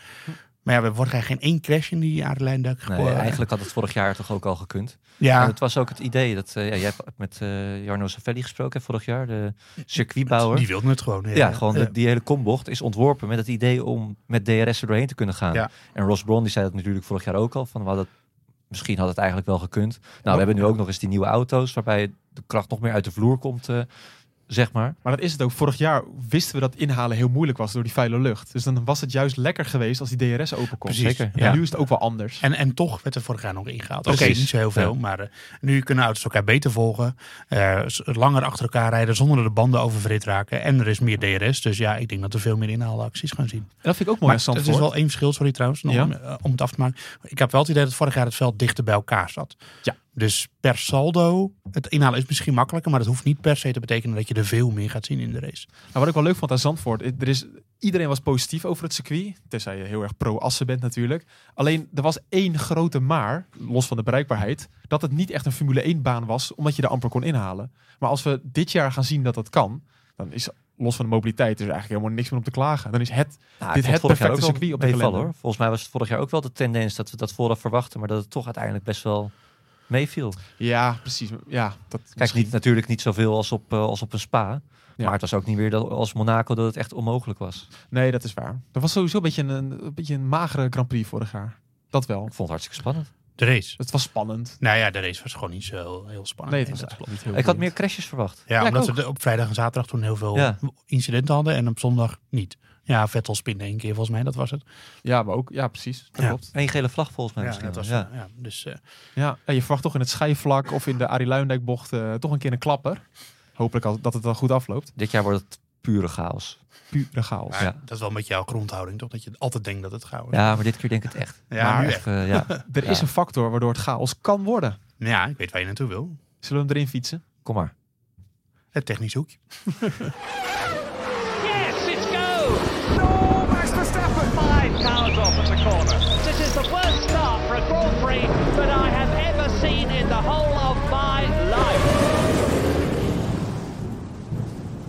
B: Maar ja, we worden geen één crash in die aardlijnduik.
A: Nee, eigenlijk had het vorig jaar toch ook al gekund. En
B: Ja,
A: het was ook het idee dat eh, ja, jij hebt met eh, Jarno Savelli gesproken hè, vorig jaar, de circuitbouwer.
B: die wilden het gewoon.
A: Ja, gewoon de- die hele kombocht is ontworpen met het idee om met DRS er doorheen te kunnen gaan.
B: Ja.
A: En Ross Brown die zei dat natuurlijk vorig jaar ook al. Van, we hadden- misschien had het eigenlijk wel gekund. Nou, we hebben nu ook nog eens die nieuwe auto's waarbij de kracht nog meer uit de vloer komt, eh, zeg maar.
C: Maar dat is het ook. Vorig jaar wisten we dat inhalen heel moeilijk was door die vuile lucht. Dus dan was het juist lekker geweest als die DRS open kon.
B: Precies, Zeker,
C: En
B: ja.
C: nu is het ook wel anders.
B: En, en toch werd er vorig jaar nog ingehaald. Oké,
A: Precies.
B: niet zo heel veel.
A: Ja.
B: Maar eh, nu kunnen auto's elkaar beter volgen. eh, s- langer achter elkaar rijden zonder dat de banden oververhit raken. En er is meer DRS. Dus ja, ik denk dat we veel meer inhaalacties gaan zien.
C: En dat vind ik ook mooi
B: Maar
C: aan
B: het
C: Zandvoort.
B: is wel één verschil, sorry trouwens, nog
C: Ja.
B: om, eh, om het af te maken. Ik heb wel het idee dat vorig jaar het veld dichter bij elkaar zat.
C: Ja.
B: Dus per saldo, het inhalen is misschien makkelijker. Maar dat hoeft niet per se te betekenen dat je er veel meer gaat zien in de race.
C: Nou, wat ik wel leuk vond aan Zandvoort, i- er is, iedereen was positief over het circuit. Tenzij je heel erg pro-assen bent natuurlijk. Alleen, er was één grote maar, los van de bereikbaarheid, dat het niet echt een Formule 1-baan was, omdat je er amper kon inhalen. Maar als we dit jaar gaan zien dat dat kan, dan is los van de mobiliteit dus eigenlijk helemaal niks meer om te klagen. Dan is het...
A: Nou,
C: Dit
A: ik vond
C: het
A: vorig jaar
C: perfecte
A: ook wel
C: circuit op de
A: meevallen,
C: kalender.
A: hoor. Volgens mij was het vorig jaar ook wel de tendens dat we dat vooraf verwachten, maar dat het toch uiteindelijk best wel meeviel.
C: Ja, precies. Ja, dat
A: Kijk, niet, natuurlijk niet zoveel als op, eh, als op een spa.
C: Ja.
A: Maar het was ook niet meer dat, als Monaco dat het echt onmogelijk was.
C: Nee, dat is waar. Dat was sowieso een beetje een, een, beetje een magere Grand Prix vorig jaar. Dat wel.
A: Ik vond het hartstikke spannend.
B: De race.
C: Het was spannend.
B: Nou ja, de race was gewoon niet zo heel spannend.
C: Nee,
B: inderdaad.
C: het was eigenlijk niet heel
A: ik had
C: boeiend.
A: meer crashes verwacht.
B: Ja,
C: Ja,
B: omdat
C: ik
B: ze de- op vrijdag en zaterdag toen heel veel
A: Ja.
B: incidenten hadden en op zondag niet. Ja, Vettel spinde één keer volgens mij, dat was het.
C: Ja, maar ook... Ja, precies. Dat
B: Ja.
C: klopt.
A: Eén gele vlag volgens mij
B: Ja,
A: misschien.
B: dat was,
A: wel.
B: ja.
A: ja.
B: dus, eh,
C: Ja, en je verwacht toch in het schijfvlak of in de Arie Luindijkbocht eh, toch een keer een klapper. Hopelijk al, dat het dan goed afloopt.
A: Dit jaar wordt het pure chaos.
C: Pure chaos.
B: maar
A: Ja.
B: dat is wel met jouw grondhouding toch, dat je altijd denkt dat het gauw is.
A: Ja, maar dit keer denk ik het echt.
B: Ja,
A: maar
B: nu
A: echt, eh, ja.
C: Er is
A: Ja.
C: een factor waardoor het chaos kan worden.
B: Nou ja, ik weet waar je naartoe wil.
C: Zullen we hem erin fietsen?
A: Kom maar.
B: Het technisch hoekje.
F: Yes, it's go! No, Max Verstappen! Five cars off at the corner. This is the worst start for a Grand Prix that I have ever seen in the whole of my life.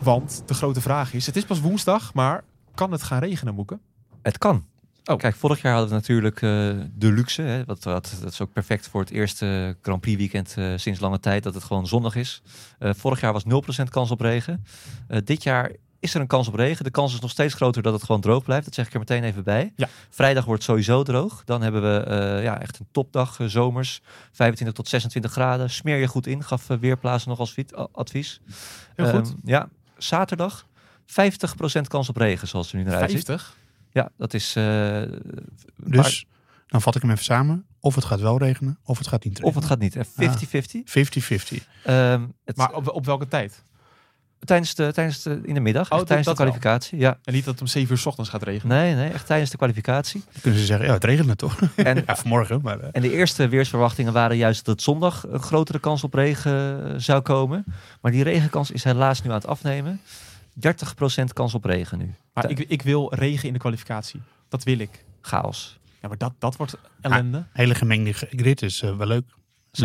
C: Want de grote vraag is, het is pas woensdag, maar kan het gaan regenen, Moeken?
A: Het kan.
C: Oh.
A: Kijk, vorig jaar hadden we natuurlijk eh, de luxe. Hè, wat, wat, dat is ook perfect voor het eerste Grand Prix weekend eh, sinds lange tijd. Dat het gewoon zonnig is. Eh, vorig jaar was 0% kans op regen. Eh, dit jaar is er een kans op regen. De kans is nog steeds groter dat het gewoon droog blijft. Dat zeg ik er meteen even bij.
C: Ja.
A: Vrijdag wordt het sowieso droog. Dan hebben we eh, ja, echt een topdag eh, zomers. 25 tot 26 graden. Smeer je goed in. Gaf eh, Weerplaatsen nog als fiet- a- advies.
C: Heel goed.
A: Ehm, ja, zaterdag 50% kans op regen zoals het er nu naar uitziet.
C: 50?
A: Ja, dat is. eh,
B: Dus, dan vat ik hem even samen. Of het gaat wel regenen, of het gaat niet
A: maar- of het
B: regenen.
A: gaat niet. eh, 50-50.
B: 50-50.
A: Ehm, het-
C: Maar op, op welke tijd?
A: tijdens de, tijdens de, in de middag,
C: Oh,
A: echt tijdens
C: dat-
A: de
C: dat
A: kwalificatie. Ja.
C: En niet dat het om 7 uur 's ochtends gaat regenen.
A: Nee, nee, echt tijdens de kwalificatie.
B: Dan kunnen ze zeggen, ja, het regent toch.
A: En,
B: ja, vanmorgen, maar... eh,
A: en de eerste weersverwachtingen waren juist dat zondag een grotere kans op regen eh, zou komen. Maar die regenkans is helaas nu aan het afnemen. 30% kans op regen nu.
C: Maar ik, ik wil regen in de kwalificatie. Dat wil ik.
A: Chaos.
C: Ja, maar dat, dat wordt ellende.
B: hele gemengde g- grid is eh, wel leuk. Leuker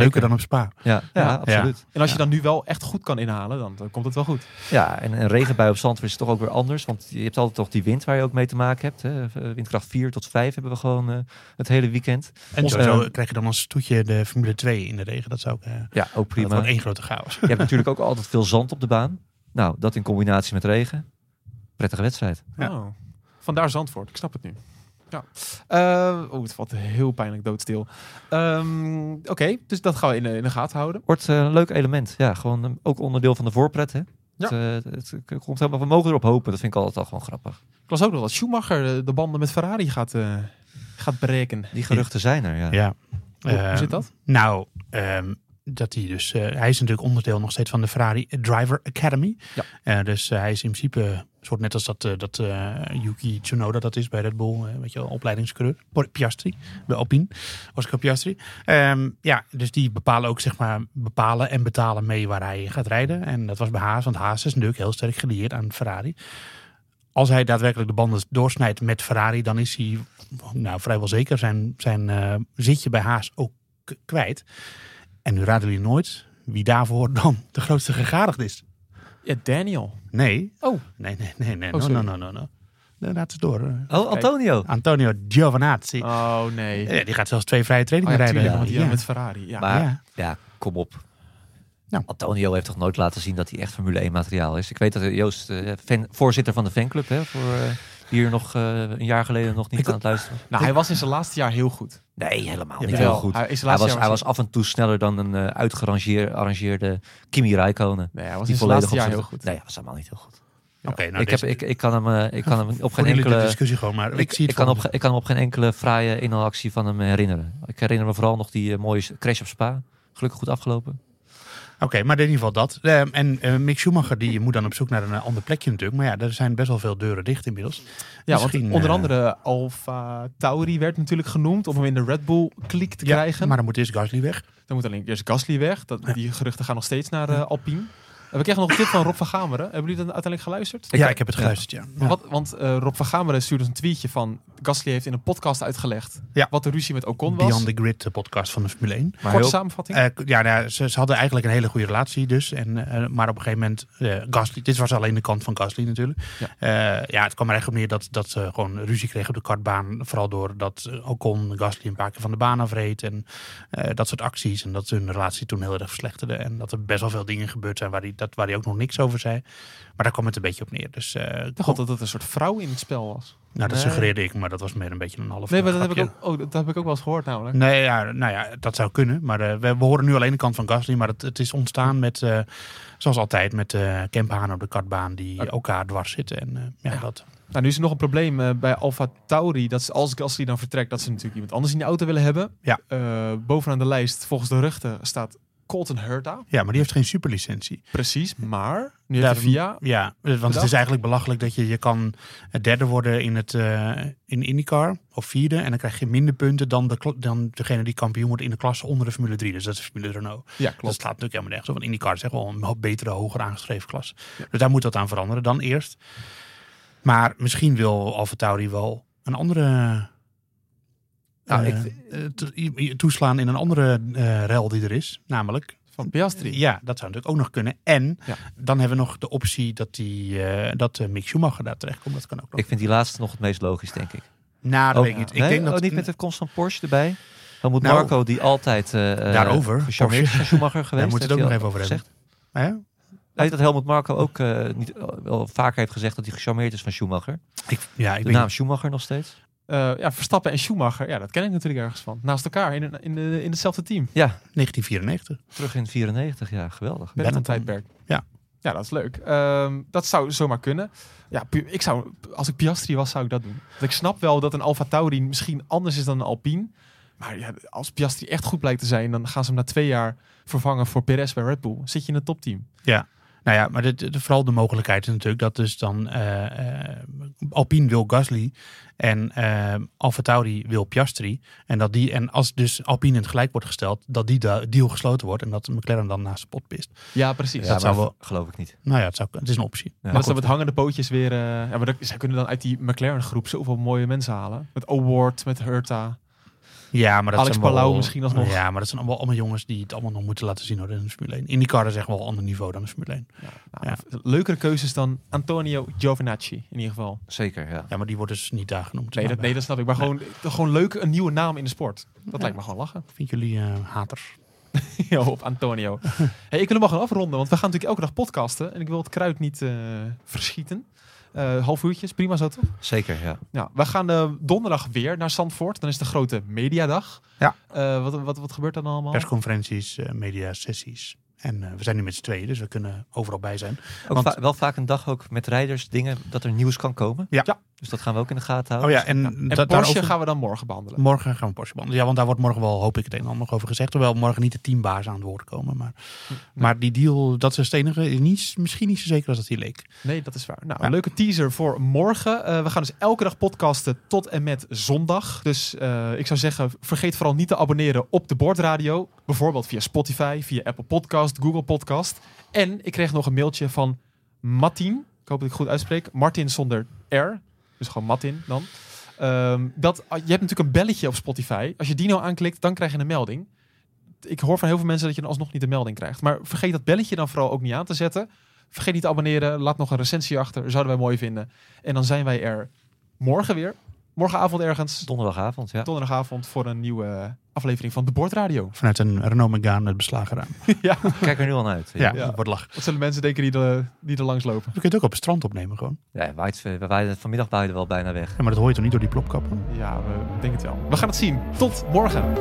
A: Zeker.
B: dan op Spa.
A: Ja, ja,
C: Ja.
A: absoluut.
C: En als je dan nu wel echt goed kan inhalen, dan, dan komt het wel goed.
A: Ja, en een regenbui op Zandvoort is toch ook weer anders. Want je hebt altijd toch die wind waar je ook mee te maken hebt. Hè. Eh, Windkracht 4 tot 5 hebben we gewoon eh, het hele weekend.
B: En
A: Ons-
B: sowieso
A: eh,
B: krijg je dan als toetje de Formule 2 in de regen. Dat zou ook... eh,
A: Ja, ook
B: dat
A: prima.
B: wordt één grote chaos.
A: Je hebt natuurlijk ook altijd veel zand op de baan. Nou, dat in combinatie met regen. Prettige wedstrijd.
B: Ja.
C: Oh. Vandaar Zandvoort, ik snap het nu. Ja. Eh, Oeh, het valt heel pijnlijk doodstil. Ehm, Oké, dus dat gaan we in, de- in de gaten houden.
A: Wordt eh, een leuk element. Ja, gewoon eh, ook onderdeel van de voorpret. Hè?
C: Ja.
A: Het, eh, het, het komt helemaal, we mogen erop hopen. Dat vind ik altijd al gewoon grappig.
C: Ik las ook nog dat Schumacher eh, de banden met Ferrari gaat eh, gaat breken.
A: Die geruchten zijn er, ja.
B: Ja.
C: Hoe- hoe
B: Ehm,
C: zit dat?
B: Nou, ehm, dat hij dus, eh, hij is natuurlijk onderdeel nog steeds van de Ferrari Driver Academy.
C: Ja.
B: Eh, dus eh, hij is in principe een soort net als dat, eh, dat eh, Yuki Tsunoda dat is bij Red Bull, eh, weet je wel, opleidingscoureur. Por- Piastri, bij Alpine, Oscar Piastri. Ehm, ja, dus die bepalen ook zeg maar, bepalen en betalen mee waar hij gaat rijden. En dat was bij Haas, want Haas is natuurlijk heel sterk gelieerd aan Ferrari. Als hij daadwerkelijk de banden doorsnijdt met Ferrari, dan is hij nou, vrijwel zeker zijn, zijn eh, zitje bij Haas ook k- kwijt. En nu raden jullie nooit wie daarvoor dan de grootste gegadigd is.
C: Ja, Daniel.
B: Nee.
C: Oh.
B: Nee, nee, nee, nee. no,
C: Oh, sorry.
B: no, no, no, no. Nee, Laat het door. eh.
A: Oh, Antonio.
B: Antonio Giovinazzi.
C: Oh, nee.
B: Eh, die gaat zelfs twee vrije trainingen
C: Oh, ja,
B: rijden.
C: tuurlijk, want die
B: ja.
C: dan met Ferrari. Ja.
A: Maar
B: Ja.
A: ja. kom op.
B: Nou.
A: Antonio heeft toch nooit laten zien dat hij echt Formule 1 materiaal is. Ik weet dat eh, Joost, eh, fan- voorzitter van de fanclub, hè, voor, eh, die hier nog eh, een jaar geleden nog niet aan het luisteren was.
C: nou, hij was in zijn laatste jaar heel goed.
A: Nee, helemaal niet
C: Jawel,
A: heel goed.
C: hij
A: Hij,
C: is de laatste
A: was,
C: jaar
A: hij
C: was-
A: was af en toe sneller dan een eh uitgearrangeerde Kimi Räikkönen.
C: Nee, hij was
A: Die
C: in zijn laatste
A: op
C: jaar
A: zijn-
C: heel goed.
A: Nee, hij was helemaal niet heel goed.
B: Oké, nou,
A: ik, heb, ik, ik kan hem, eh, ik kan hem op geen
B: enkele
A: enkele...
B: discussie gewoon, maar ik,
A: Ik,
B: zie
A: ik,
B: het
A: kan
B: voor
A: op,
B: me.
A: ge- ik kan hem op geen enkele fraaie inhaalactie van hem herinneren. Ik herinner me vooral nog die eh, mooie s- crash op Spa. Gelukkig goed afgelopen.
B: Oké, maar in ieder geval dat. Ehm, en eh, Mick Schumacher, die moet dan op zoek naar een eh, ander plekje natuurlijk. Maar ja, er zijn best wel veel deuren dicht inmiddels.
C: Ja, want
B: Misschien,
C: onder
B: eh,
C: andere Alfa Tauri werd natuurlijk genoemd om hem in de Red Bull kliek te
B: Ja,
C: krijgen.
B: Maar dan moet eerst Gasly weg.
C: Dan moet alleen eerst Gasly weg. Dat, die geruchten gaan nog steeds naar eh, Alpine. En we kregen nog een tip van Rob van Gameren. Hebben jullie dat uiteindelijk geluisterd?
B: ja, ik heb het geluisterd, ja. Ja.
C: Wat, want eh, Rob van Gameren stuurde ons een tweetje van... Gasly heeft in een podcast uitgelegd
B: Ja.
C: wat de ruzie met Ocon was.
B: Beyond the Grid, de podcast van de Formule 1.
A: Maar
C: Korte
A: heel-
C: samenvatting.
B: Eh, k- ja, nou ja, ze, ze hadden eigenlijk een hele goede relatie dus. En, eh, maar op een gegeven moment, eh, Gasly, dit was alleen de kant van Gasly natuurlijk.
C: Ja.
B: Ja, ja het kwam er echt op neer dat, dat ze gewoon ruzie kregen op de kartbaan. Vooral doordat eh, Ocon Gasly een paar keer van de baan afreed. En eh, dat soort acties. En dat hun relatie toen heel erg verslechterde. En dat er best wel veel dingen gebeurd zijn waar hij, dat, waar hij ook nog niks over zei. Maar daar kwam het een beetje op neer. Dus, eh,
C: ik dacht dat het een soort vrouw in het spel was.
B: nou, dat
C: Nee.
B: suggereerde ik, maar dat was meer een beetje een half
C: Nee, maar dat heb,
B: grapje.
C: ik ook, oh, dat heb ik ook wel eens gehoord namelijk.
B: Nee, ja, nou ja, dat zou kunnen. Maar eh, we, we horen nu alleen de kant van Gasly. Maar het, het is ontstaan met, eh, zoals altijd, met eh Kemphaan op de kartbaan die elkaar dwars zitten. En eh, ja, dat.
C: Nou, nu is er nog een probleem eh, bij Alfa Tauri. Dat ze, als Gasly dan vertrekt, dat ze natuurlijk iemand anders in de auto willen hebben.
B: Ja.
C: Eh, bovenaan de lijst, volgens de ruchten, staat Colton Herta.
B: ja, maar die heeft geen superlicentie.
C: Precies, maar nu
B: Ja,
C: heeft hij via...
B: Ja, eh, want het is eigenlijk belachelijk dat je, je kan eh, derde worden in, het, eh, in IndyCar of vierde. En dan krijg je minder punten dan, de, kla- dan degene die kampioen wordt in de klasse onder de Formule 3. Dus dat is Formule Renault.
C: Ja,
B: Dat
C: klopt.
B: Dus slaat natuurlijk helemaal nergens op. Want IndyCar is echt wel een ho- betere, hoger aangeschreven klas. Dus daar moet dat aan veranderen dan eerst. Maar misschien wil Alfa Tauri wel een andere...
A: Nou,
B: eh,
A: ik-
B: eh, to- i- i- toeslaan in een andere eh rel die er is. Namelijk
C: Van Piastri.
B: ja, dat zou natuurlijk ook nog kunnen. En
C: Ja.
B: dan hebben we nog de optie dat, die, eh, dat eh, Mick Schumacher daar terecht komt. Dat kan ook nog.
A: Ik vind die laatste nog het meest logisch, denk ik.
B: nou, dat
A: Ook-
B: weet ik niet. Ik
A: Nee?
B: denk
A: Oh,
B: dat
A: niet met de komst van Porsche erbij. Dan moet
B: Nou,
A: Marco, die altijd eh eh,
B: daarover,
A: gecharmeerd is
B: Porsche.
A: van Schumacher geweest.
B: moeten het
A: heeft
B: ook
A: hij
B: nog
A: al
B: even over hebben.
A: gezegd.
B: Hè?
A: Hij weet dat Helmut Marco ook eh, niet, wel vaker heeft gezegd dat hij gecharmeerd is van Schumacher.
B: Ik, ja, ik
A: De
B: weet
A: naam
B: niet.
A: Schumacher nog steeds.
C: Eh, ja, Verstappen en Schumacher. Ja, dat ken ik natuurlijk ergens van. Naast elkaar in, een- in, de, in hetzelfde team.
A: Ja,
B: 1994.
A: terug in 94. Ja, geweldig.
C: Met een
B: Benetton.
C: tijdperk.
B: Ja.
C: Ja, dat is leuk. Ehm, dat zou zomaar kunnen. Ja, pu- ik zou, als ik Piastri was, zou ik dat doen. Want ik snap wel dat een Alfa Tauri misschien anders is dan een Alpine. Maar ja, als Piastri echt goed blijkt te zijn, dan gaan ze hem na twee jaar vervangen voor Perez bij Red Bull. Zit je in het topteam?
B: Ja, nou ja, maar dit, de- vooral de mogelijkheid is natuurlijk dat dus dan eh, eh, Alpine wil Gasly en eh Alfa Tauri wil Piastri. En, dat die, en als dus Alpine in het gelijk wordt gesteld, dat die da- deal gesloten wordt en dat McLaren dan naast de pot pist.
C: Ja, precies.
A: Ja,
C: dat
A: maar
B: zou wel-
A: geloof ik niet.
B: Nou ja, het, zou, het is een optie.
A: Ja.
C: maar
B: Maar
C: ze met
B: goed,
C: hangende pootjes weer... eh, ja, maar dat, zij kunnen dan uit die McLaren-groep zoveel mooie mensen halen. Met Award, met Herta.
B: ja, maar dat
C: Alex
B: zijn wel-
C: Palau misschien alsnog.
B: Ja, maar dat zijn allemaal, allemaal jongens die het allemaal nog moeten laten zien hoor, in de Formule 1. IndyCar is echt wel een ander niveau dan de Formule 1.
C: Nou,
B: Ja.
C: Leukere keuzes dan Antonio Giovinazzi, in ieder geval.
A: Zeker, ja.
B: Ja, maar die wordt dus niet daar genoemd.
C: Nee,
B: Nou,
C: dat, nee, dat snap ik. Maar gewoon, gewoon leuk, een nieuwe naam in de sport. Dat lijkt me gewoon lachen.
B: Vind jullie eh, haters?
C: Ja, op Antonio. hey, ik wil hem al gaan afronden, want we gaan natuurlijk elke dag podcasten. En ik wil het kruid niet eh, verschieten. Eh half uurtje is prima zo toch?
A: Zeker, ja.
C: Ja, we gaan eh, donderdag weer naar Zandvoort. Dan is de grote mediadag.
B: Ja.
C: Eh, wat, wat, wat gebeurt er dan
B: Oh.
C: allemaal?
B: persconferenties, eh, media sessies. En eh, we zijn nu met z'n tweeën, dus we kunnen overal bij zijn.
A: Ook
B: Want-
A: va- wel vaak een dag ook met rijders dingen dat er nieuws kan komen.
B: Ja.
C: Ja.
A: Dus dat gaan we ook in de gaten
B: Oh
A: houden.
B: ja, en,
C: En
B: da-
C: Porsche
B: daarover-
C: gaan we dan morgen behandelen.
B: Morgen gaan we Porsche behandelen. Ja, want daar wordt morgen wel, hoop ik, het een en ander nog over gezegd. Hoewel morgen niet de teambaas aan het woord komen. Maar, maar die deal, dat is het enige. Niet, misschien niet zo zeker als dat hier leek.
C: Nee, dat is waar. Nou,
B: Ja.
C: een leuke teaser voor morgen. Eh, we gaan dus elke dag podcasten tot en met zondag. Dus eh, ik zou zeggen, vergeet vooral niet te abonneren op de Bordradio. Bijvoorbeeld via Spotify, via Apple Podcast, Google Podcast. En ik kreeg nog een mailtje van Martin. Ik hoop dat ik het goed uitspreek. Martin zonder R. Dus gewoon Martin dan. Ehm, dat, je hebt natuurlijk een belletje op Spotify. Als je die nou aanklikt, dan krijg je een melding. Ik hoor van heel veel mensen dat je dan alsnog niet de melding krijgt. Maar vergeet dat belletje dan vooral ook niet aan te zetten. Vergeet niet te abonneren. Laat nog een recensie achter. Zouden wij mooi vinden. En dan zijn wij er morgen weer. Morgenavond ergens.
A: Donderdagavond, ja.
C: Donderdagavond voor een nieuwe aflevering van de Bordradio.
B: Vanuit een Renault Megane het beslagen ruim.
A: Kijk er nu al naar uit.
B: Ja,
C: Ja.
B: dat wordt lachen.
C: Wat zullen mensen denken die er, die er langs lopen?
B: We kunnen het ook op het strand opnemen gewoon.
A: Ja, waait, we waaiden- vanmiddag waaiden we wel bijna weg.
B: Ja, maar dat hoor je toch niet door die plopkappen?
C: Ja, we denken het wel. We gaan het zien. Tot morgen.